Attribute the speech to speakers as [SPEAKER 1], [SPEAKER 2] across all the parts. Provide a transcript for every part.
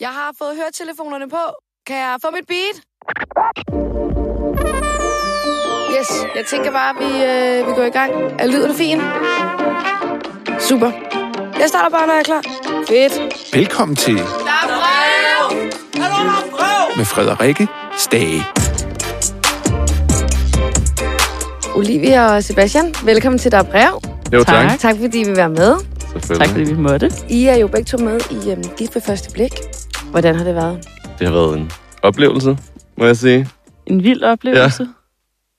[SPEAKER 1] Jeg har fået høretelefonerne på. Kan jeg få mit beat? Yes, jeg tænker bare, at vi, øh, vi går i gang. Er lyden fin? Super. Jeg starter bare, når jeg er klar. Fedt.
[SPEAKER 2] Velkommen til
[SPEAKER 1] Der er brev!
[SPEAKER 2] med Frederikke Stage.
[SPEAKER 1] Olivia og Sebastian, velkommen til Der er brev.
[SPEAKER 3] Jo, tak. tak.
[SPEAKER 1] Tak fordi vi vil være med.
[SPEAKER 3] Tak fordi vi måtte.
[SPEAKER 1] I er jo begge to med i øhm, Gift ved første blik. Hvordan har det været?
[SPEAKER 4] Det har været en oplevelse, må jeg sige.
[SPEAKER 3] En vild oplevelse. Ja.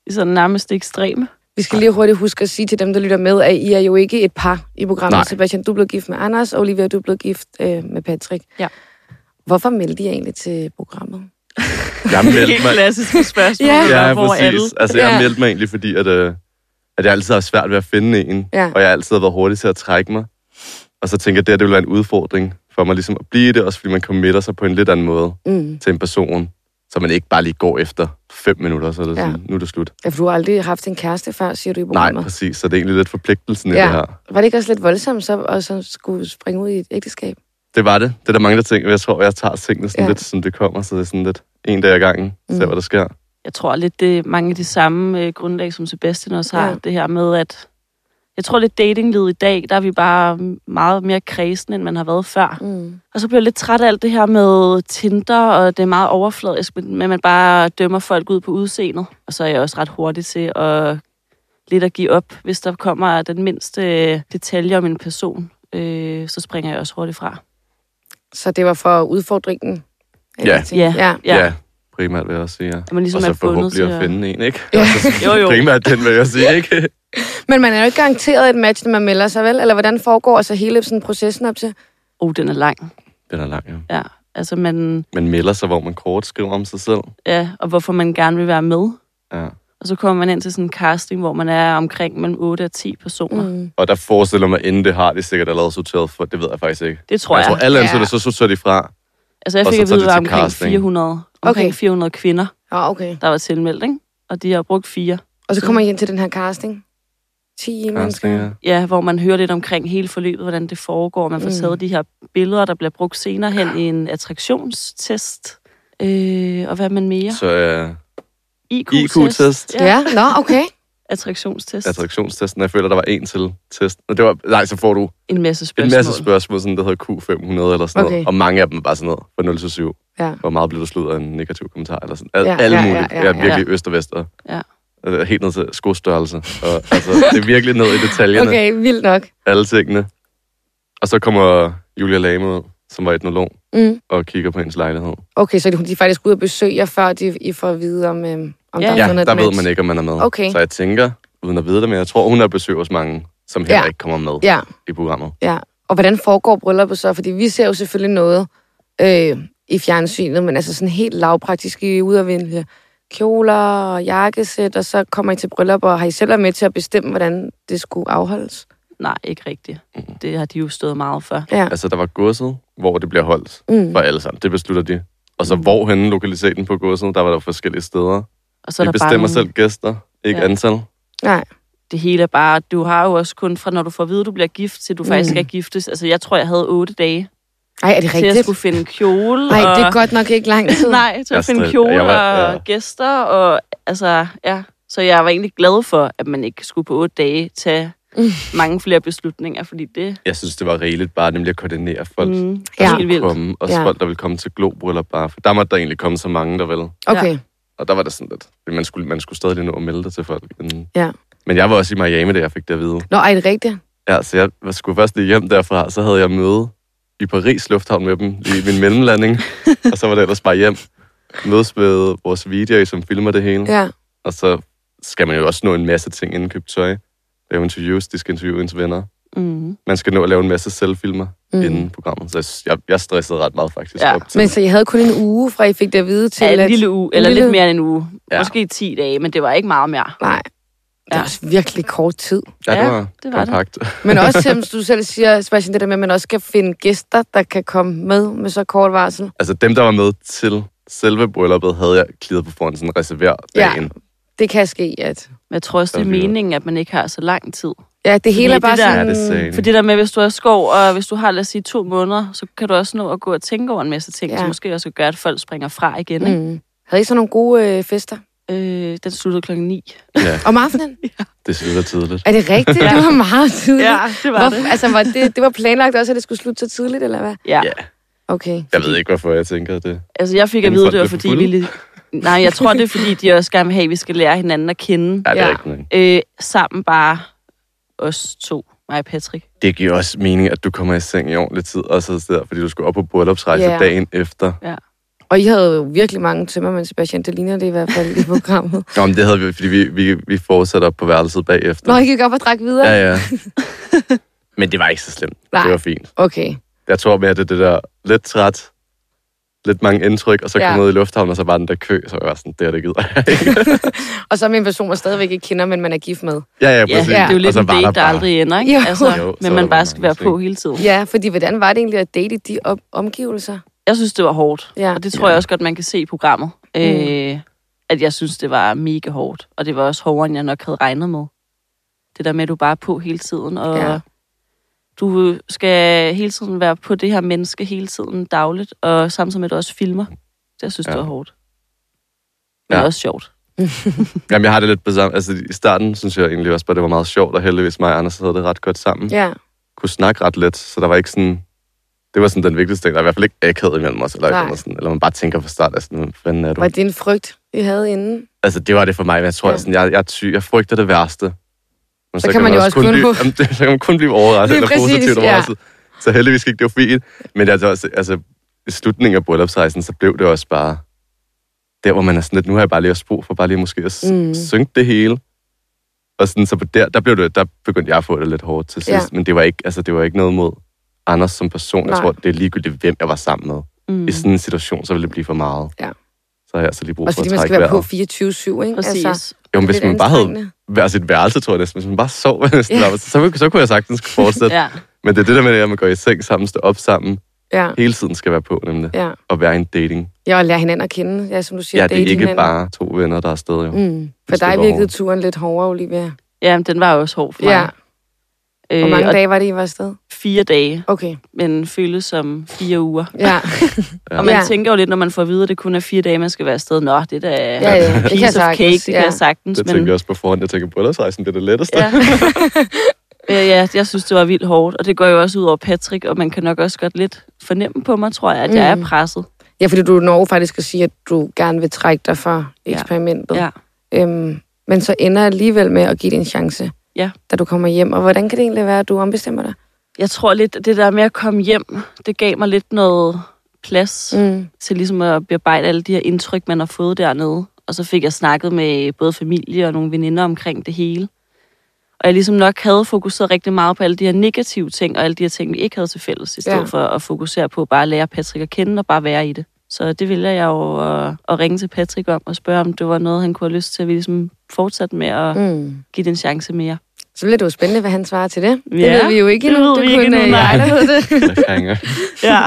[SPEAKER 3] I sådan nærmest ekstreme.
[SPEAKER 1] Vi skal lige hurtigt huske at sige til dem, der lytter med, at I er jo ikke et par i programmet. Nej.
[SPEAKER 4] Nej.
[SPEAKER 1] Sebastian, du blev gift med Anders, og Olivia, du blev gift øh, med Patrick.
[SPEAKER 3] Ja.
[SPEAKER 1] Hvorfor meldte I jer egentlig til programmet?
[SPEAKER 4] Jeg
[SPEAKER 3] Helt
[SPEAKER 4] meldte mig,
[SPEAKER 3] klassiske spørgsmål.
[SPEAKER 1] Ja.
[SPEAKER 4] ja,
[SPEAKER 3] hvor er
[SPEAKER 4] præcis. Altså, jeg
[SPEAKER 1] Ja.
[SPEAKER 4] meldte mig egentlig, fordi at, øh, at jeg altid har svært ved at finde en.
[SPEAKER 1] Ja.
[SPEAKER 4] Og jeg har altid været hurtig til at trække mig. Og så tænker jeg, det her det ville være en udfordring for mig ligesom at blive i det, også fordi man committer sig på en lidt anden måde
[SPEAKER 1] Mm.
[SPEAKER 4] til en person, så man ikke bare lige går efter fem minutter, så er det
[SPEAKER 1] Ja.
[SPEAKER 4] sådan, nu er det slut.
[SPEAKER 1] Ja, for du har aldrig haft en kæreste før, siger du i
[SPEAKER 4] Nej,
[SPEAKER 1] programmet.
[SPEAKER 4] præcis. Så det er egentlig lidt forpligtelsen
[SPEAKER 1] Ja.
[SPEAKER 4] i det her.
[SPEAKER 1] Var det ikke også lidt voldsomt så, at så skulle springe ud i et ægteskab?
[SPEAKER 4] Det var det. Det er der mange, der tænker, jeg tror, jeg tager tingene sådan
[SPEAKER 1] Ja.
[SPEAKER 4] ja. lidt, som det kommer, så det er sådan lidt en dag ad gangen, mm.
[SPEAKER 1] Mm.
[SPEAKER 4] se hvad der sker.
[SPEAKER 3] Jeg tror lidt, det er mange af de samme øh, grundlag, som Sebastian også har.
[SPEAKER 1] Ja.
[SPEAKER 3] Ja. Det her med, at... Jeg tror lidt datinglivet i dag, der er vi bare meget mere kredsende, end man har været før.
[SPEAKER 1] Mm.
[SPEAKER 3] Og så bliver jeg lidt træt af alt det her med Tinder, og det er meget overfladisk, men men man bare dømmer folk ud på udseendet. Og så er jeg også ret hurtig til at lidt at give op, hvis der kommer den mindste øh, detalje om en person. Øh, så springer jeg også hurtigt fra.
[SPEAKER 1] Så det var for udfordringen? af
[SPEAKER 4] Ja.
[SPEAKER 1] de ting. ja.
[SPEAKER 4] Ja. ja. Primært vil jeg også sige, ja.
[SPEAKER 3] At man ligesom
[SPEAKER 4] og så
[SPEAKER 3] er bundet
[SPEAKER 4] forhåbentlig
[SPEAKER 3] til
[SPEAKER 4] at
[SPEAKER 3] at
[SPEAKER 4] finde en, ikke?
[SPEAKER 1] Ja.
[SPEAKER 4] Ja. Altså,
[SPEAKER 3] Jo,
[SPEAKER 4] jo,
[SPEAKER 3] jo.
[SPEAKER 4] jo. Primært den, vil jeg sige, ikke?
[SPEAKER 1] Men man er jo ikke garanteret et match, når man melder sig, vel? Eller hvordan foregår så hele sådan, processen op til?
[SPEAKER 3] Oh, den er lang.
[SPEAKER 4] Den er lang, ja.
[SPEAKER 3] Ja, altså man...
[SPEAKER 4] Man melder sig, hvor man kort skriver om sig selv.
[SPEAKER 3] Ja, og hvorfor man gerne vil være med.
[SPEAKER 4] Ja.
[SPEAKER 3] Og så kommer man ind til sådan en casting, hvor man er omkring mellem 8 og 10 personer. Mm.
[SPEAKER 1] Mm.
[SPEAKER 4] Og der forestiller mig, inden det har de sikkert allerede sorteret for. Det ved jeg faktisk ikke.
[SPEAKER 3] Det tror jeg.
[SPEAKER 4] jeg tror, alle
[SPEAKER 1] Ja.
[SPEAKER 4] ansøgerne, så sorterer de fra.
[SPEAKER 3] altså jeg
[SPEAKER 4] Altså, og
[SPEAKER 3] fik
[SPEAKER 4] så tager
[SPEAKER 3] at
[SPEAKER 4] de
[SPEAKER 3] vide, at der var
[SPEAKER 4] til
[SPEAKER 3] omkring
[SPEAKER 4] casting.
[SPEAKER 3] 400, omkring
[SPEAKER 1] Okay.
[SPEAKER 3] 400 kvinder,
[SPEAKER 1] Ja, okay.
[SPEAKER 3] der var tilmeldt, ikke? Og de har brugt fire.
[SPEAKER 1] Og så kommer I ind til den her casting. 10 mennesker.
[SPEAKER 4] Casting, ja.
[SPEAKER 3] ja, hvor man hører lidt omkring hele forløbet, hvordan det foregår. Man får
[SPEAKER 1] Mm.
[SPEAKER 3] taget de her billeder, der bliver brugt senere hen i en attraktionstest. Øh, og hvad man mere?
[SPEAKER 4] Så øh,
[SPEAKER 3] IQ-test.
[SPEAKER 4] IQ-test.
[SPEAKER 3] Ja,
[SPEAKER 1] Ja, nå, okay.
[SPEAKER 3] attraktionstest.
[SPEAKER 4] attraktionstesten, jeg føler, der var en til test. Og det var, nej, så får du
[SPEAKER 3] En masse spørgsmål.
[SPEAKER 4] en masse spørgsmål, sådan, der hedder Q500 eller sådan okay.
[SPEAKER 1] Okay.
[SPEAKER 4] noget. Og mange af dem er bare sådan noget, fra 0 til 7.
[SPEAKER 1] Ja.
[SPEAKER 4] Hvor meget blev du slået af en negativ kommentar? Eller sådan. Al,
[SPEAKER 1] Ja,
[SPEAKER 4] ja, alle
[SPEAKER 1] ja,
[SPEAKER 4] ja, mulige.
[SPEAKER 1] ja,
[SPEAKER 4] Ja,
[SPEAKER 1] ja,
[SPEAKER 4] ja,
[SPEAKER 1] ja.
[SPEAKER 4] virkelig øst og vest. Og,
[SPEAKER 3] Ja.
[SPEAKER 4] øh, helt ned til skostørrelse. Og, altså, det er virkelig ned i detaljerne. Okay.
[SPEAKER 1] Okay, vildt nok.
[SPEAKER 4] Alle tingene. Og så kommer Julia Lame ud, som var etnolog,
[SPEAKER 1] Mm.
[SPEAKER 4] og kigger på hendes lejlighed.
[SPEAKER 1] Okay, så de, de er faktisk ude og besøge jer, før de, I får at vide, om, øhm, om
[SPEAKER 3] Ja.
[SPEAKER 1] der er
[SPEAKER 4] Ja,
[SPEAKER 1] fundet et
[SPEAKER 4] der ved
[SPEAKER 1] match.
[SPEAKER 4] man ikke, om man er med.
[SPEAKER 1] Okay.
[SPEAKER 4] Så jeg tænker, uden at vide det, men jeg tror, hun er besøg hos mange, som heller
[SPEAKER 1] Ja.
[SPEAKER 4] ja. ikke kommer med
[SPEAKER 1] Ja,
[SPEAKER 4] i programmet.
[SPEAKER 1] ja. Og hvordan foregår brylluppet så? Fordi vi ser jo selvfølgelig noget øh, i fjernsynet, men altså sådan helt lavpraktisk. I er ude og vinde kjoler og jakkesæt, og så kommer I til bryllup, og har I selv været med til at bestemme, hvordan det skulle afholdes?
[SPEAKER 3] Nej, ikke rigtigt. Det har de jo stået meget for.
[SPEAKER 1] Ja.
[SPEAKER 4] Altså, der var godset, hvor det bliver holdt
[SPEAKER 1] Mm.
[SPEAKER 4] for alle sammen. Det beslutter de. Og så
[SPEAKER 3] Mm.
[SPEAKER 4] hvorhenne lokaliteten på godset, der var der forskellige steder.
[SPEAKER 3] Og så
[SPEAKER 4] Så
[SPEAKER 3] er
[SPEAKER 4] de
[SPEAKER 3] der bare
[SPEAKER 4] bestemmer
[SPEAKER 3] nogle,
[SPEAKER 4] selv gæster, ikke
[SPEAKER 3] Ja.
[SPEAKER 4] ja. antal.
[SPEAKER 1] Nej.
[SPEAKER 3] Det hele er bare, du har jo også kun fra, når du får at vide, at du bliver gift, til du faktisk
[SPEAKER 1] Mm.
[SPEAKER 3] skal giftes. Altså, jeg tror, jeg havde otte dage
[SPEAKER 1] Nej, er det
[SPEAKER 3] til at
[SPEAKER 1] rigtigt?
[SPEAKER 3] Altså, skulle finde kjole.
[SPEAKER 1] Nej,
[SPEAKER 3] og...
[SPEAKER 1] det er godt nok ikke lang tid.
[SPEAKER 3] Nej, til
[SPEAKER 4] Altså, Jeg
[SPEAKER 3] at finde
[SPEAKER 4] strid-
[SPEAKER 3] kjole
[SPEAKER 4] jeg var-
[SPEAKER 3] og
[SPEAKER 4] ja.
[SPEAKER 3] gæster, og altså, ja. Så jeg var egentlig glad for, at man ikke skulle på otte dage tage
[SPEAKER 1] Mm.
[SPEAKER 3] mange flere beslutninger, fordi det
[SPEAKER 4] Jeg synes, det var rigeligt bare nemlig at koordinere folk. Mm.
[SPEAKER 3] mm,
[SPEAKER 1] Ja.
[SPEAKER 3] ja. helt vildt.
[SPEAKER 4] Komme, også
[SPEAKER 1] Ja.
[SPEAKER 4] ja. folk, der ville komme til Globo eller bare. For der måtte der egentlig komme så mange, der ville.
[SPEAKER 1] Okay.
[SPEAKER 4] Og der var det sådan lidt, at man skulle, man skulle stadig lige nå at melde det til folk. Men,
[SPEAKER 1] Ja.
[SPEAKER 4] men jeg var også i Miami, da jeg fik det at vide.
[SPEAKER 1] Nå, er det rigtigt?
[SPEAKER 4] Ja, så jeg var- skulle først lige hjem derfra, så havde jeg møde i Paris Lufthavn med dem, lige i min mellemlanding, og så var det ellers bare hjem. Mødes med vores video, som filmer det hele, ja.
[SPEAKER 1] Ja.
[SPEAKER 4] og så skal man jo også nå en masse ting inden købt tøj. Lave interviews, de skal interviewe ens venner.
[SPEAKER 1] Mm-hmm.
[SPEAKER 3] Mm.
[SPEAKER 4] Man skal nå at lave en masse selvfilmer
[SPEAKER 1] Mm.
[SPEAKER 4] mm. inden programmet, så jeg, synes- jeg, jeg stressede ret meget faktisk
[SPEAKER 3] Ja,
[SPEAKER 4] ja, op til.
[SPEAKER 1] Men så jeg havde kun en uge, fra I fik det at vide til...
[SPEAKER 3] Ja,
[SPEAKER 1] at-
[SPEAKER 3] en lille uge, eller
[SPEAKER 1] en lille-
[SPEAKER 3] lidt mere end en uge.
[SPEAKER 4] Ja.
[SPEAKER 3] Måske 10 dage, men det var ikke meget mere.
[SPEAKER 1] Nej. Det er
[SPEAKER 3] Ja.
[SPEAKER 1] også virkelig kort tid.
[SPEAKER 4] ja, det
[SPEAKER 3] Ja,
[SPEAKER 4] var,
[SPEAKER 3] det var det.
[SPEAKER 4] kompakt. Det.
[SPEAKER 1] Men også, som du selv siger, Sebastian, det der med, at man også skal finde gæster, der kan komme med med så kort varsel.
[SPEAKER 4] Altså dem, der var med til selve brylluppet, havde jeg klidet på forhånd sådan reserver
[SPEAKER 1] Ja.
[SPEAKER 4] dagen.
[SPEAKER 1] Det kan ske, at...
[SPEAKER 3] Men jeg tror også, det er
[SPEAKER 4] Helt vildt.
[SPEAKER 3] meningen, at man ikke har så lang tid.
[SPEAKER 1] Ja, det hele er
[SPEAKER 3] det
[SPEAKER 1] bare
[SPEAKER 3] der-
[SPEAKER 4] Ja,
[SPEAKER 1] sådan...
[SPEAKER 4] det er sagen.
[SPEAKER 3] For det der med, hvis du har skov, og hvis du har, lad os sige, to måneder, så kan du også nå at gå og tænke over en masse ting,
[SPEAKER 1] Ja.
[SPEAKER 3] ja. som måske også kan gøre, at folk springer fra igen. Ikke?
[SPEAKER 1] Mm. Havde I så nogle gode øh, fester?
[SPEAKER 3] Øh, den sluttede klokken 9.
[SPEAKER 4] Ja,
[SPEAKER 1] Om aftenen?
[SPEAKER 4] det slutter tidligt.
[SPEAKER 1] Er det rigtigt?
[SPEAKER 3] Ja.
[SPEAKER 1] Det var meget tidligt.
[SPEAKER 3] det
[SPEAKER 1] Hvorfor, altså, var det, det var planlagt også, at det skulle slutte så tidligt, eller hvad?
[SPEAKER 3] Ja.
[SPEAKER 4] Ja.
[SPEAKER 1] Okay.
[SPEAKER 4] Jeg ved ikke, hvorfor jeg tænker det.
[SPEAKER 3] Altså, jeg fik at
[SPEAKER 4] Inden
[SPEAKER 3] vide,
[SPEAKER 4] folk
[SPEAKER 3] det var
[SPEAKER 4] blev
[SPEAKER 3] fordi,
[SPEAKER 4] fulde?
[SPEAKER 3] vi lige... Nej, jeg tror, det er fordi, de også gerne vil have, at vi skal lære hinanden at kende.
[SPEAKER 4] Ja, det er
[SPEAKER 1] Ja.
[SPEAKER 4] ikke noget.
[SPEAKER 3] Øh, sammen bare os to, mig og Patrick.
[SPEAKER 4] Det giver også mening, at du kommer i seng i ordentlig tid, og så der, fordi du skulle op på bryllupsrejse
[SPEAKER 1] Ja.
[SPEAKER 4] yeah. dagen efter.
[SPEAKER 1] Og I havde jo virkelig mange tømmermænd, Sebastian. Det ligner det i hvert fald i programmet.
[SPEAKER 4] Nå, men det havde vi, fordi vi, vi, vi fortsatte op på værelset bagefter.
[SPEAKER 1] Nå, I gik op og drak videre?
[SPEAKER 4] Ja, ja. men det var ikke så slemt.
[SPEAKER 1] Nej.
[SPEAKER 4] Det var fint.
[SPEAKER 1] Okay.
[SPEAKER 4] Jeg tror mere, det er det der lidt træt, lidt mange indtryk, og så
[SPEAKER 1] Ja.
[SPEAKER 4] kom ud i lufthavnen, og så var den der kø, så var jeg var sådan, det her, det gider jeg ikke.
[SPEAKER 1] Og så med en person, man stadigvæk ikke kender, men man er gift med.
[SPEAKER 4] ja, ja,
[SPEAKER 3] Ja,
[SPEAKER 4] præcis.
[SPEAKER 3] det er jo lidt
[SPEAKER 4] og så
[SPEAKER 3] en
[SPEAKER 4] var
[SPEAKER 3] date, der
[SPEAKER 4] bare-
[SPEAKER 3] aldrig ender, ikke?
[SPEAKER 1] Jo.
[SPEAKER 3] Altså,
[SPEAKER 1] Jo,
[SPEAKER 4] så er
[SPEAKER 3] men
[SPEAKER 4] der
[SPEAKER 3] man
[SPEAKER 4] bare
[SPEAKER 3] bare skal være
[SPEAKER 4] mange ting.
[SPEAKER 3] på hele tiden.
[SPEAKER 1] Ja, fordi hvordan var det egentlig at date i de op- omgivelser?
[SPEAKER 3] Jeg synes, det var hårdt.
[SPEAKER 1] Ja. Mm.
[SPEAKER 3] Og det tror jeg også godt, man kan se i programmet. Øh, at jeg synes, det var mega hårdt. Og det var også hårdere, end jeg nok havde regnet med. Det der med, at du bare er på hele tiden. Og
[SPEAKER 1] Ja.
[SPEAKER 3] ja. du skal hele tiden være på det her menneske hele tiden dagligt. Og samtidig med, at du også filmer. Det, jeg synes, ja.
[SPEAKER 4] Ja.
[SPEAKER 3] det var hårdt. Men ja.
[SPEAKER 4] Ja.
[SPEAKER 3] også sjovt.
[SPEAKER 4] Jamen, jeg har det lidt på samme. Altså, i starten synes jeg egentlig også bare, det var meget sjovt, og heldigvis mig og Anders havde det ret godt sammen.
[SPEAKER 1] Ja,
[SPEAKER 4] kunne snakke ret let, så der var ikke sådan... Det var sådan den vigtigste ting. Der er i hvert fald ikke akavet imellem os, eller,
[SPEAKER 1] Nej.
[SPEAKER 4] eller, sådan, eller man bare tænker fra start af sådan, hvad fanden er du?
[SPEAKER 1] var det en frygt, I havde inden?
[SPEAKER 4] Altså, det var det for mig, men jeg tror,
[SPEAKER 1] Ja.
[SPEAKER 4] ja. sådan, jeg, jeg er ty, jeg frygter det værste. Men
[SPEAKER 1] Så kan man jo også kun
[SPEAKER 4] blive,
[SPEAKER 1] få-
[SPEAKER 4] jamen, det, så kan man kun blive overrasket,
[SPEAKER 1] Lige
[SPEAKER 4] eller
[SPEAKER 1] præcis,
[SPEAKER 4] positivt
[SPEAKER 1] ja.
[SPEAKER 4] overrasket. Så heldigvis gik det jo fint. Men altså, også, altså, i slutningen af bryllupsrejsen, så blev det også bare der, hvor man er sådan lidt, nu har jeg bare lige også brug for bare lige måske at
[SPEAKER 1] Mm.
[SPEAKER 4] mm. synke det hele. Og sådan, så på der, der, blev det, der begyndte jeg at få det lidt hårdt til sidst.
[SPEAKER 1] Ja.
[SPEAKER 4] Ja. Men det var, ikke, altså, det var ikke noget mod Anders som person. Jeg
[SPEAKER 1] Nej.
[SPEAKER 4] tror, det er ligegyldigt, hvem jeg var sammen med.
[SPEAKER 3] Mm.
[SPEAKER 4] Mm. I sådan en situation, så ville det blive for meget.
[SPEAKER 1] Ja.
[SPEAKER 4] Så har jeg altså lige brug
[SPEAKER 1] Også
[SPEAKER 4] for at
[SPEAKER 1] fordi man skal
[SPEAKER 4] trække
[SPEAKER 1] være
[SPEAKER 4] vejret.
[SPEAKER 1] på 24-7, ikke?
[SPEAKER 3] Præcis.
[SPEAKER 1] Altså,
[SPEAKER 3] Altså,
[SPEAKER 4] Jo, men hvis
[SPEAKER 1] lidt
[SPEAKER 4] man bare havde
[SPEAKER 1] anstrengende.
[SPEAKER 4] hver sit værelse, tror jeg næsten. Hvis man bare sov næsten
[SPEAKER 1] Ja.
[SPEAKER 4] ja. så, så kunne jeg sagtens fortsætte. ja.
[SPEAKER 3] ja.
[SPEAKER 4] Men det er det der med, at man går i seng sammen, står op sammen,
[SPEAKER 1] Ja,
[SPEAKER 4] hele tiden skal være på nemlig,
[SPEAKER 1] ja.
[SPEAKER 4] og være i en dating.
[SPEAKER 1] Ja, og lære hinanden at kende, ja, som du siger.
[SPEAKER 4] Ja, det er
[SPEAKER 1] date
[SPEAKER 4] ikke
[SPEAKER 1] hinanden.
[SPEAKER 4] bare to venner, der er afsted jo. Mm.
[SPEAKER 1] Mm. For
[SPEAKER 4] det
[SPEAKER 1] dig
[SPEAKER 4] var
[SPEAKER 1] virkede
[SPEAKER 4] hårdt.
[SPEAKER 1] turen lidt hårdere, Olivia.
[SPEAKER 3] ja, men den var også hård for mig.
[SPEAKER 1] Ja. Hvor
[SPEAKER 3] Øh,
[SPEAKER 1] mange
[SPEAKER 3] og
[SPEAKER 1] dage var det, I var afsted?
[SPEAKER 3] Fire dage,
[SPEAKER 1] Okay,
[SPEAKER 3] men føles som fire uger.
[SPEAKER 1] ja.
[SPEAKER 4] Ja.
[SPEAKER 3] Og man
[SPEAKER 1] Ja.
[SPEAKER 3] ja. tænker jo lidt, når man får at vide, at det kun er fire dage, man skal være afsted. Nå, det er da ja,
[SPEAKER 1] ja, det kan
[SPEAKER 3] piece
[SPEAKER 1] jeg
[SPEAKER 3] of
[SPEAKER 1] sagtens,
[SPEAKER 3] cake, det
[SPEAKER 1] ja.
[SPEAKER 3] kan jeg sagtens.
[SPEAKER 4] Det tænker jeg også på forhånd. Jeg tænker, bryllupsrejsen, det er det letteste.
[SPEAKER 3] ja. Øh, ja, jeg synes, det var vildt hårdt. Og det går jo også ud over Patrick, og man kan nok også godt lidt fornemme på mig, tror jeg, at jeg
[SPEAKER 1] Mm.
[SPEAKER 3] er presset.
[SPEAKER 1] ja, fordi du når faktisk at sige, at du gerne vil trække dig fra
[SPEAKER 3] Ja.
[SPEAKER 1] eksperimentet.
[SPEAKER 3] Ja.
[SPEAKER 1] Øhm, men så ender alligevel med at give det en chance,
[SPEAKER 3] Ja.
[SPEAKER 1] da du kommer hjem. Og hvordan kan det egentlig være, at du ombestemmer dig?
[SPEAKER 3] Jeg tror lidt, det der med at komme hjem, det gav mig lidt noget plads mm.
[SPEAKER 1] Mm.
[SPEAKER 3] til ligesom at bearbejde alle de her indtryk, man har fået dernede. Og så fik jeg snakket med både familie og nogle veninder omkring det hele. Og jeg ligesom nok havde fokuseret rigtig meget på alle de her negative ting, og alle de her ting, vi ikke havde til fælles, i stedet
[SPEAKER 1] Ja.
[SPEAKER 3] ja. for at fokusere på bare at lære Patrick at kende og bare være i det. Så det ville jeg jo at, at ringe til Patrick om og spørge, om det var noget, han kunne have lyst til, at vi ligesom fortsatte med at
[SPEAKER 1] Mm.
[SPEAKER 3] give den chance mere.
[SPEAKER 1] Så bliver det jo spændende, hvad han svarer til det. Det
[SPEAKER 3] Ja,
[SPEAKER 1] ved vi jo ikke
[SPEAKER 3] det
[SPEAKER 1] endnu.
[SPEAKER 3] ved vi ikke
[SPEAKER 1] kun,
[SPEAKER 3] endnu,
[SPEAKER 1] øh,
[SPEAKER 3] nej.
[SPEAKER 1] jer, der ved det.
[SPEAKER 4] Jeg krænger.
[SPEAKER 3] Ja.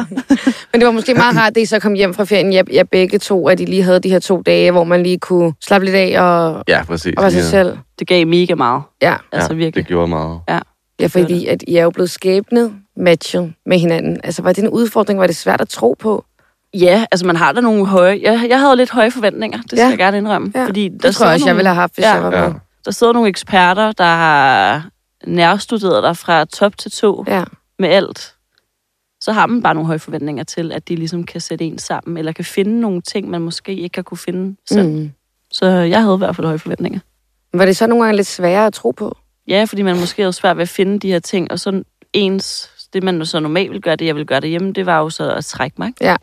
[SPEAKER 1] Men det var måske meget rart, at I så kom hjem fra ferien. Jeg, jeg begge to, at I lige havde de her to dage, hvor man lige kunne slappe lidt af og,
[SPEAKER 4] ja, præcis.
[SPEAKER 1] og være sig
[SPEAKER 4] Ja.
[SPEAKER 1] selv.
[SPEAKER 3] Det gav mega meget.
[SPEAKER 1] Ja.
[SPEAKER 3] Altså
[SPEAKER 4] ja,
[SPEAKER 3] virkelig.
[SPEAKER 4] Det gjorde meget.
[SPEAKER 1] Ja,
[SPEAKER 3] Det var
[SPEAKER 1] fordi at I er jo blevet skæbnet matchet med hinanden. Altså, var det en udfordring? Var det svært at tro på?
[SPEAKER 3] Ja, altså man har da nogle høje... Jeg, jeg havde lidt høje forventninger, det skal
[SPEAKER 1] Ja.
[SPEAKER 3] jeg gerne indrømme.
[SPEAKER 1] Ja.
[SPEAKER 3] Fordi der
[SPEAKER 1] Det tror
[SPEAKER 3] sidder
[SPEAKER 1] jeg også, jeg
[SPEAKER 3] nogle,
[SPEAKER 1] ville have haft, hvis
[SPEAKER 3] Ja.
[SPEAKER 1] jeg var
[SPEAKER 4] Ja.
[SPEAKER 1] med.
[SPEAKER 3] Der sidder nogle eksperter, der har nærstuderet dig fra top til to
[SPEAKER 1] Ja.
[SPEAKER 3] med alt. Så har man bare nogle høje forventninger til, at de ligesom kan sætte en sammen, eller kan finde nogle ting, man måske ikke har kunne finde selv. Mm.
[SPEAKER 1] Mm.
[SPEAKER 3] Så jeg havde i hvert fald høje forventninger.
[SPEAKER 1] Var det så nogle gange lidt sværere at tro på?
[SPEAKER 3] Ja, fordi man måske havde svært ved at finde de her ting, og så ens, det man så normalt ville gøre, det jeg ville gøre derhjemme, det var jo så at trække mig. ikke?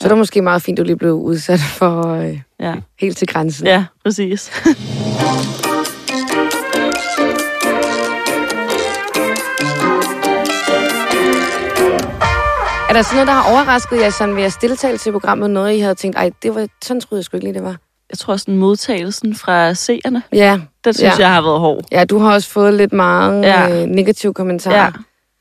[SPEAKER 1] Så det var måske meget fint, at du lige blev udsat for øh,
[SPEAKER 3] Ja,
[SPEAKER 1] helt til grænsen.
[SPEAKER 3] ja præcis.
[SPEAKER 1] Er der sådan noget, der har overrasket jer sådan ved jeres deltagelse i programmet? Noget, I havde tænkt, ej, det var, sådan troede jeg sgu ikke lige, det var.
[SPEAKER 3] Jeg tror sådan modtagelsen fra seerne,
[SPEAKER 1] Ja,
[SPEAKER 3] den synes
[SPEAKER 1] Ja.
[SPEAKER 3] ja. jeg har været hård.
[SPEAKER 1] ja du har også fået lidt mange
[SPEAKER 3] Ja.
[SPEAKER 1] ja. øh, negative kommentarer.
[SPEAKER 3] Ja.
[SPEAKER 1] Ja.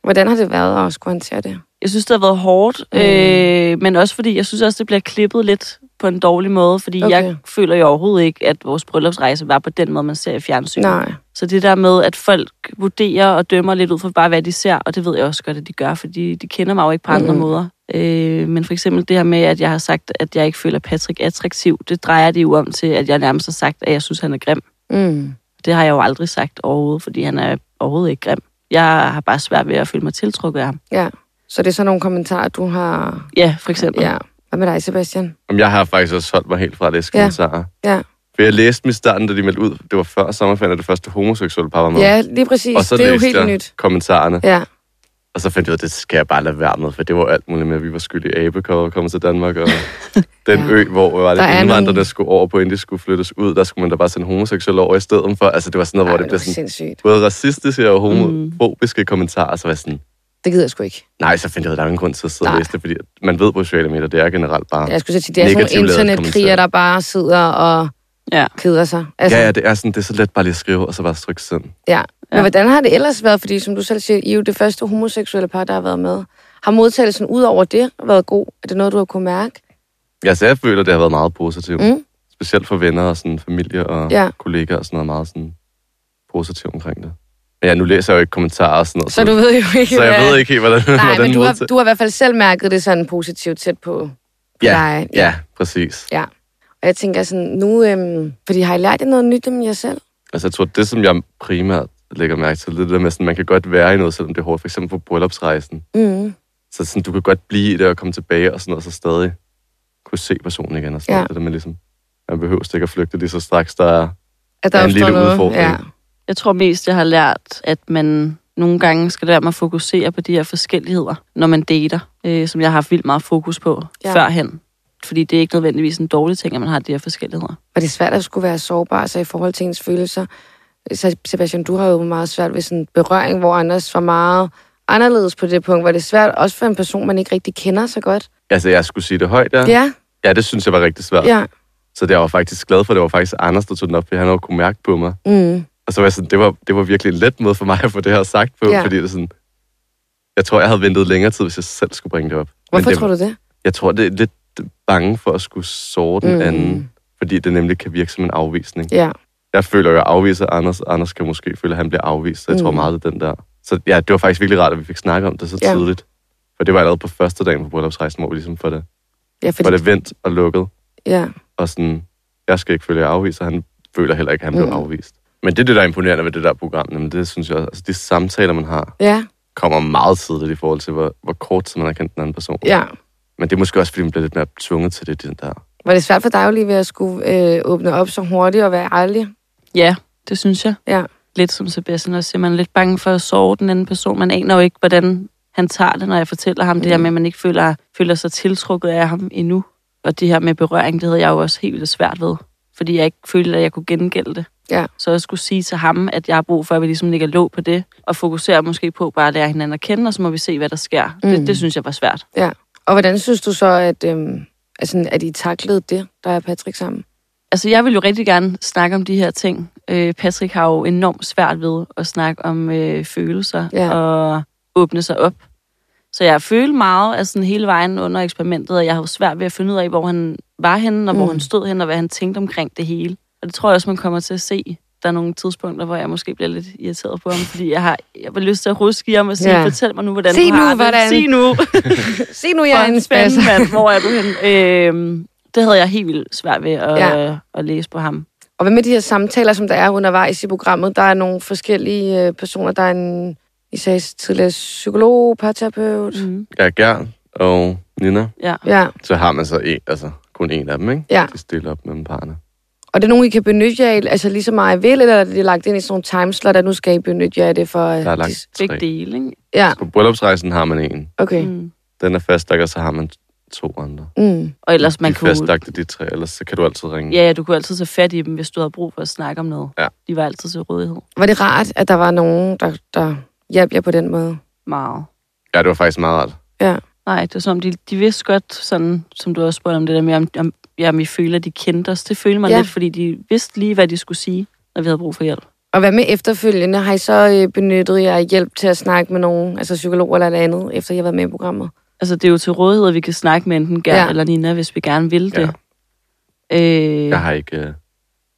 [SPEAKER 1] Hvordan har det været at skulle håndtere det?
[SPEAKER 3] Jeg synes, det har været hårdt,
[SPEAKER 1] Mm.
[SPEAKER 3] mm. øh, men også fordi, jeg synes også, det bliver klippet lidt på en dårlig måde, fordi okay.
[SPEAKER 1] Okay.
[SPEAKER 3] jeg føler jo overhovedet ikke, at vores bryllupsrejse var på den måde, man ser i fjernsynet.
[SPEAKER 1] Nej.
[SPEAKER 3] Så det der med, at folk vurderer og dømmer lidt ud fra bare, hvad de ser, og det ved jeg også godt, at de gør, fordi de kender mig jo ikke på andre
[SPEAKER 1] Mhm.
[SPEAKER 3] måder. Øh, men for eksempel det her med, at jeg har sagt, at jeg ikke føler Patrick attraktiv, det drejer det jo om til, at jeg nærmest har sagt, at jeg synes, han er grim.
[SPEAKER 1] Mm.
[SPEAKER 3] Det har jeg jo aldrig sagt overhovedet, fordi han er overhovedet ikke grim. Jeg har bare svært ved at føle mig tiltrukket af ham.
[SPEAKER 1] Ja. Så det er sådan nogle kommentarer, du har...
[SPEAKER 3] Ja, for eksempel.
[SPEAKER 1] Ja. Hvad med dig, Sebastian?
[SPEAKER 4] Jamen, jeg har faktisk også holdt mig helt fra at læse
[SPEAKER 1] Ja.
[SPEAKER 4] kommentarer.
[SPEAKER 1] Ja.
[SPEAKER 4] For jeg læste dem i starten, da de meldte ud. Det var før sommerferien, at det første homoseksuelle par var med.
[SPEAKER 1] Ja, lige præcis.
[SPEAKER 4] og så
[SPEAKER 1] det er jo
[SPEAKER 4] læste
[SPEAKER 1] helt
[SPEAKER 4] jeg
[SPEAKER 1] nyt.
[SPEAKER 4] kommentarerne.
[SPEAKER 1] Ja.
[SPEAKER 4] Og så fandt jeg ud af, at det skal jeg bare lade være med, for det var alt muligt med, at vi var skyld i abekår og komme til Danmark. Og den
[SPEAKER 1] Ja.
[SPEAKER 4] ja. ø, hvor var det
[SPEAKER 1] Der er
[SPEAKER 4] indvandrerne
[SPEAKER 1] nogle-
[SPEAKER 4] nogle... skulle over på, inden de skulle flyttes ud, der skulle man da bare sende homoseksuelle over i stedet for. Altså, det var sådan noget,
[SPEAKER 1] Ej,
[SPEAKER 4] hvor
[SPEAKER 1] det
[SPEAKER 4] det blev
[SPEAKER 1] var
[SPEAKER 4] sådan
[SPEAKER 1] sindssygt.
[SPEAKER 4] både racistiske og
[SPEAKER 3] Mm.
[SPEAKER 4] homofobiske mm. kommentarer, og så var jeg sådan,
[SPEAKER 1] Det gider jeg sgu ikke.
[SPEAKER 4] nej, så fandt jeg ud af, at der er ingen grund til at sidde
[SPEAKER 1] Nej.
[SPEAKER 4] og læse det, fordi man ved på sociale medier, det er generelt bare...
[SPEAKER 1] Jeg skulle sige, det er sådan
[SPEAKER 4] Negativt
[SPEAKER 1] nogle
[SPEAKER 4] lavet
[SPEAKER 1] internetkriger, der
[SPEAKER 4] kommentarer.
[SPEAKER 1] bare sidder og
[SPEAKER 3] Ja.
[SPEAKER 1] keder sig. Altså,
[SPEAKER 4] Ja, ja, det er sådan, det er så let bare lige at skrive, og så bare trykke send.
[SPEAKER 1] ja. Men
[SPEAKER 3] Ja.
[SPEAKER 1] hvordan har det ellers været? Fordi som du selv siger, I er jo det første homoseksuelle par, der har været med. Har modtagelsen ud over det været god? Er det noget, du har kunne mærke?
[SPEAKER 4] Ja, så Altså, jeg føler, det har været meget positivt.
[SPEAKER 1] Mm.
[SPEAKER 4] Mm. Specielt for venner og sådan, familie og
[SPEAKER 1] Ja.
[SPEAKER 4] ja. kollegaer og sådan noget meget sådan, positivt omkring det. Men ja, nu læser jeg jo ikke kommentarer og sådan noget.
[SPEAKER 1] Så du ved jo ikke,
[SPEAKER 4] så jeg
[SPEAKER 1] hvad-
[SPEAKER 4] ved ikke helt, hvordan,
[SPEAKER 1] Nej,
[SPEAKER 4] hvordan
[SPEAKER 1] men du har,
[SPEAKER 4] modtager-
[SPEAKER 1] du har i hvert fald selv mærket det sådan positivt tæt på, på
[SPEAKER 4] Ja,
[SPEAKER 1] dig.
[SPEAKER 4] Ja, præcis.
[SPEAKER 1] Og jeg tænker sådan, nu, øhm, fordi har I lært jer noget nyt om jer selv?
[SPEAKER 4] Altså jeg tror, det som jeg primært lægger mærke til, det er det der med, sådan, man kan godt være i noget, selvom det er hårdt. For eksempel på bryllupsrejsen.
[SPEAKER 1] Mm.
[SPEAKER 4] Så sådan, du kan godt blive i det og komme tilbage og sådan noget, og så stadig kunne se personen igen. Og sådan
[SPEAKER 1] Ja.
[SPEAKER 4] ja. noget. Det der med ligesom, man behøver ikke at flygte lige så straks, der er
[SPEAKER 1] At
[SPEAKER 4] Ja, en
[SPEAKER 1] opstår
[SPEAKER 4] lille
[SPEAKER 1] noget.
[SPEAKER 4] udfordring.
[SPEAKER 1] Ja.
[SPEAKER 3] Jeg tror mest, jeg har lært, at man nogle gange skal lade mig fokusere på de her forskelligheder, når man dater, øh, som jeg har haft vildt meget fokus på
[SPEAKER 1] Ja.
[SPEAKER 3] ja. førhen. Fordi det er ikke nødvendigvis en dårlig ting, at man har de her forskelligheder.
[SPEAKER 1] Og det er svært at skulle være sårbar så i forhold til ens følelser. Så Sebastian, du har jo meget svært ved sådan berøring, hvor Anders var meget anderledes på det punkt. Var det svært også for en person, man ikke rigtig kender så godt?
[SPEAKER 4] Altså, jeg skulle sige det højt, ja.
[SPEAKER 1] Ja,
[SPEAKER 4] Ja, det synes jeg var rigtig svært.
[SPEAKER 1] ja.
[SPEAKER 4] Så det jeg var faktisk glad for, det var faktisk Anders, der tog den op, fordi han havde kunne mærke på mig.
[SPEAKER 1] Mm.
[SPEAKER 4] Og så var jeg sådan, det var, det var virkelig en let måde for mig at få det her sagt på,
[SPEAKER 1] Ja.
[SPEAKER 4] ja. fordi det er sådan, jeg tror, jeg havde ventet længere tid, hvis jeg selv skulle bringe det op.
[SPEAKER 1] Hvorfor
[SPEAKER 4] det,
[SPEAKER 1] tror du det?
[SPEAKER 4] Jeg tror, det er lidt bange for at skulle såre den
[SPEAKER 1] Mm.
[SPEAKER 4] mm. anden, fordi det nemlig kan virke som en afvisning.
[SPEAKER 1] Ja.
[SPEAKER 4] Jeg føler jo, at jeg afviser Anders, og Anders kan måske føle, at han bliver afvist, så jeg mm. tror
[SPEAKER 1] Mm.
[SPEAKER 4] meget, det er den der. Så ja, det var faktisk virkelig rart, at vi fik snakket om det så
[SPEAKER 1] Ja.
[SPEAKER 4] ja. tidligt. For det var allerede på første dagen på bryllupsrejsen, hvor vi ligesom får det,
[SPEAKER 1] Ja,
[SPEAKER 4] får
[SPEAKER 1] fordi,
[SPEAKER 4] det vendt og lukket.
[SPEAKER 1] ja.
[SPEAKER 4] og sådan, jeg skal ikke føle, at jeg er afvist, og han føler heller ikke, at han blev
[SPEAKER 1] Mm.
[SPEAKER 4] mm. afvist. Men det er det, der er imponerende ved det der program, men det synes jeg også, altså de samtaler, man har,
[SPEAKER 1] ja,
[SPEAKER 4] kommer meget tidligt i forhold til, hvor, hvor kort tid man har kendt den anden person.
[SPEAKER 1] ja.
[SPEAKER 4] Men det er måske også, fordi man bliver lidt mere tvunget til det, den der.
[SPEAKER 1] Var det svært for dig lige ved at skulle øh, åbne op så hurtigt og være ærlig?
[SPEAKER 3] Ja, det synes jeg.
[SPEAKER 1] Ja.
[SPEAKER 3] Lidt som Sebastian også siger, man er lidt bange for at sove den anden person. Man aner jo ikke, hvordan han tager det, når jeg fortæller ham mm. det her med, at man ikke føler, føler sig tiltrukket af ham endnu. Og det her med berøring, det havde jeg jo også helt vildt svært ved, fordi jeg ikke følte, at jeg kunne gengælde det.
[SPEAKER 1] Ja.
[SPEAKER 3] Så jeg skulle sige til ham, at jeg har brug for, at vi ligesom ligger låg på det, og fokuserer måske på bare at lære hinanden at kende, og så må vi se, hvad der sker. Mm.
[SPEAKER 1] Mm.
[SPEAKER 3] Det, det synes jeg var svært.
[SPEAKER 1] Og hvordan synes du så, at, øhm, altså, at I taklede det, der er Patrick sammen?
[SPEAKER 3] Altså, jeg vil jo rigtig gerne snakke om de her ting. Øh, Patrick har jo enormt svært ved at snakke om øh, følelser
[SPEAKER 1] Ja.
[SPEAKER 3] ja. og åbne sig op. Så jeg følte meget af sådan hele vejen under eksperimentet, og jeg havde svært ved at finde ud af, hvor han var henne, og hvor
[SPEAKER 1] Mm.
[SPEAKER 3] han stod henne, og hvad han tænkte omkring det hele. Og det tror jeg også, man kommer til at se. Der er nogle tidspunkter, hvor jeg måske bliver lidt irriteret på ham, fordi jeg har jeg var lyst til at ruske i ham og sige,
[SPEAKER 1] Ja.
[SPEAKER 3] ja. fortæl mig nu, hvordan
[SPEAKER 1] Sig
[SPEAKER 3] du har
[SPEAKER 1] nu,
[SPEAKER 3] det.
[SPEAKER 1] hvordan."
[SPEAKER 3] Sig nu,
[SPEAKER 1] Se nu, jeg er en spasser.
[SPEAKER 3] spændende, mand. Hvor er du henne? Øhm, det havde jeg helt vildt svært ved at,
[SPEAKER 1] Ja.
[SPEAKER 3] ja. at læse på ham.
[SPEAKER 1] Og hvad med de her samtaler, som der er undervejs i programmet? Der er nogle forskellige øh, personer. Der er en, I sagde tidligere, psykolog, parterapeut. Mm.
[SPEAKER 3] Mm.
[SPEAKER 4] Ja, Gern og Nina,
[SPEAKER 1] Ja,
[SPEAKER 4] så har man så en, altså kun en af dem, ikke?
[SPEAKER 1] Ja.
[SPEAKER 4] De stiller op mellem parerne.
[SPEAKER 1] og det er nogen, I kan benytte jer af, altså lige så meget I vil, eller er det lagt ind i sådan nogle timeslot, at nu skal I benytte jer af det for... øh,
[SPEAKER 4] Der er
[SPEAKER 1] de-
[SPEAKER 4] lagt
[SPEAKER 3] Begge
[SPEAKER 4] tre.
[SPEAKER 3] dele, ikke?
[SPEAKER 1] Ja,
[SPEAKER 4] På bryllupsrejsen har man en.
[SPEAKER 1] okay. Mm.
[SPEAKER 3] Mm.
[SPEAKER 4] Den er fastlagt, og så har man to andre.
[SPEAKER 1] Mm.
[SPEAKER 3] Og ellers man
[SPEAKER 4] de
[SPEAKER 3] kunne...
[SPEAKER 4] fastlagte de tre, ellers så kan du altid ringe.
[SPEAKER 3] Ja, ja, du kunne altid tage fat i dem, hvis du havde brug for at snakke om noget.
[SPEAKER 4] Ja.
[SPEAKER 3] De var altid til rådighed.
[SPEAKER 1] Var det rart, at der var nogen, der, der hjalp jer på den måde?
[SPEAKER 3] Meget.
[SPEAKER 4] ja, det var faktisk meget rart.
[SPEAKER 3] Nej, det var som, om, de, de vidste godt, sådan, som du også spurgte om det der med, om, om, ja, om I føler, at de kendte os. Det følte mig
[SPEAKER 1] Ja.
[SPEAKER 3] ja. lidt, fordi de vidste lige, hvad de skulle sige, når vi havde brug for hjælp.
[SPEAKER 1] Og hvad med efterfølgende? Har I så øh, benyttet jer af hjælp til at snakke med nogen, altså psykolog eller noget andet, efter I har været med i programmet?
[SPEAKER 3] Altså, det er jo til rådighed, at vi kan snakke med enten Gert
[SPEAKER 1] Ja.
[SPEAKER 3] ja. eller Nina, hvis vi gerne vil det.
[SPEAKER 4] Ja.
[SPEAKER 3] Øh,
[SPEAKER 4] Jeg har ikke... Øh,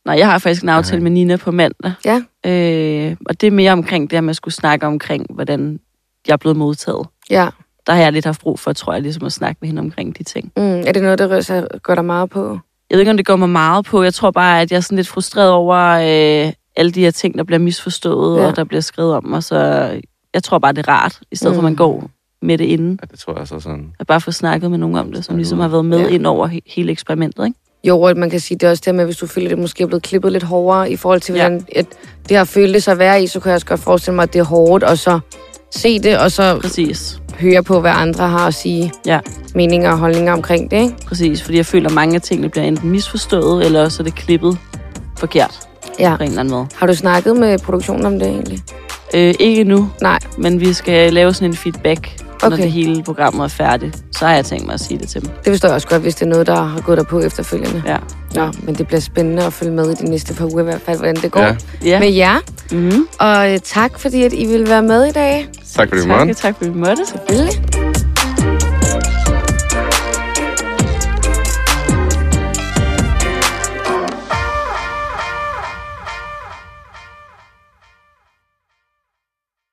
[SPEAKER 3] Nej, jeg har faktisk en aftale
[SPEAKER 4] Nej.
[SPEAKER 3] med Nina på mandag.
[SPEAKER 1] Ja.
[SPEAKER 3] Øh, og det er mere omkring det her med at skulle snakke omkring, hvordan jeg er blevet modtaget.
[SPEAKER 1] Ja.
[SPEAKER 3] Der har jeg lidt haft brug for, tror jeg, ligesom at snakke med hende omkring de ting.
[SPEAKER 1] Mm, er det noget, der rører sig, går der meget på?
[SPEAKER 3] Jeg ved ikke, om det går mig meget på. Jeg tror bare, at jeg er sådan lidt frustreret over øh, alle de her ting, der bliver misforstået,
[SPEAKER 1] Ja.
[SPEAKER 3] ja. og der bliver skrevet om. Og så jeg tror bare, det er rart, i stedet mm. for at
[SPEAKER 1] Mm.
[SPEAKER 3] man går med det inden.
[SPEAKER 4] ja, det tror jeg så er sådan...
[SPEAKER 3] At bare få snakket med nogen om det, som
[SPEAKER 4] Snakke
[SPEAKER 3] ligesom
[SPEAKER 4] ud.
[SPEAKER 3] har været med
[SPEAKER 1] Ja.
[SPEAKER 3] ja. ind over he- hele eksperimentet. Ikke?
[SPEAKER 1] Jo, og man kan sige, det er også det med, hvis du føler, at det måske er blevet klippet lidt hårdere i forhold til,
[SPEAKER 3] Ja.
[SPEAKER 1] hvordan ja. at det har føltes at være i, så kan jeg også godt forestille mig, at det er hårdt, og så se det, og så
[SPEAKER 3] Præcis.
[SPEAKER 1] høre på, hvad andre har at sige.
[SPEAKER 3] Ja.
[SPEAKER 1] Meninger og holdninger omkring det, ikke?
[SPEAKER 3] Præcis, fordi jeg føler, at mange af tingene bliver enten misforstået, eller også er det klippet forkert
[SPEAKER 1] Ja.
[SPEAKER 3] på en eller anden måde.
[SPEAKER 1] Har du snakket med produktionen om det egentlig?
[SPEAKER 3] Øh, ikke nu,
[SPEAKER 1] Nej.
[SPEAKER 3] men vi skal lave sådan en feedback, okay. når
[SPEAKER 1] Okay.
[SPEAKER 3] det hele programmet er færdigt. Så har jeg tænkt mig at sige det til dem.
[SPEAKER 1] Det forstår jeg også godt, hvis det er noget, der har gået dig på efterfølgende.
[SPEAKER 3] Ja.
[SPEAKER 1] Nå, men det bliver spændende at følge med i de næste par uger i hvert fald, hvordan det går
[SPEAKER 4] Ja.
[SPEAKER 1] ja.
[SPEAKER 3] ja.
[SPEAKER 1] med jer.
[SPEAKER 3] mm-hmm.
[SPEAKER 1] Og øh, tak, fordi at I ville være med i dag.
[SPEAKER 4] Tak fordi du måtte.
[SPEAKER 3] Tak, tak fordi vi måtte.
[SPEAKER 1] Selvfølgelig.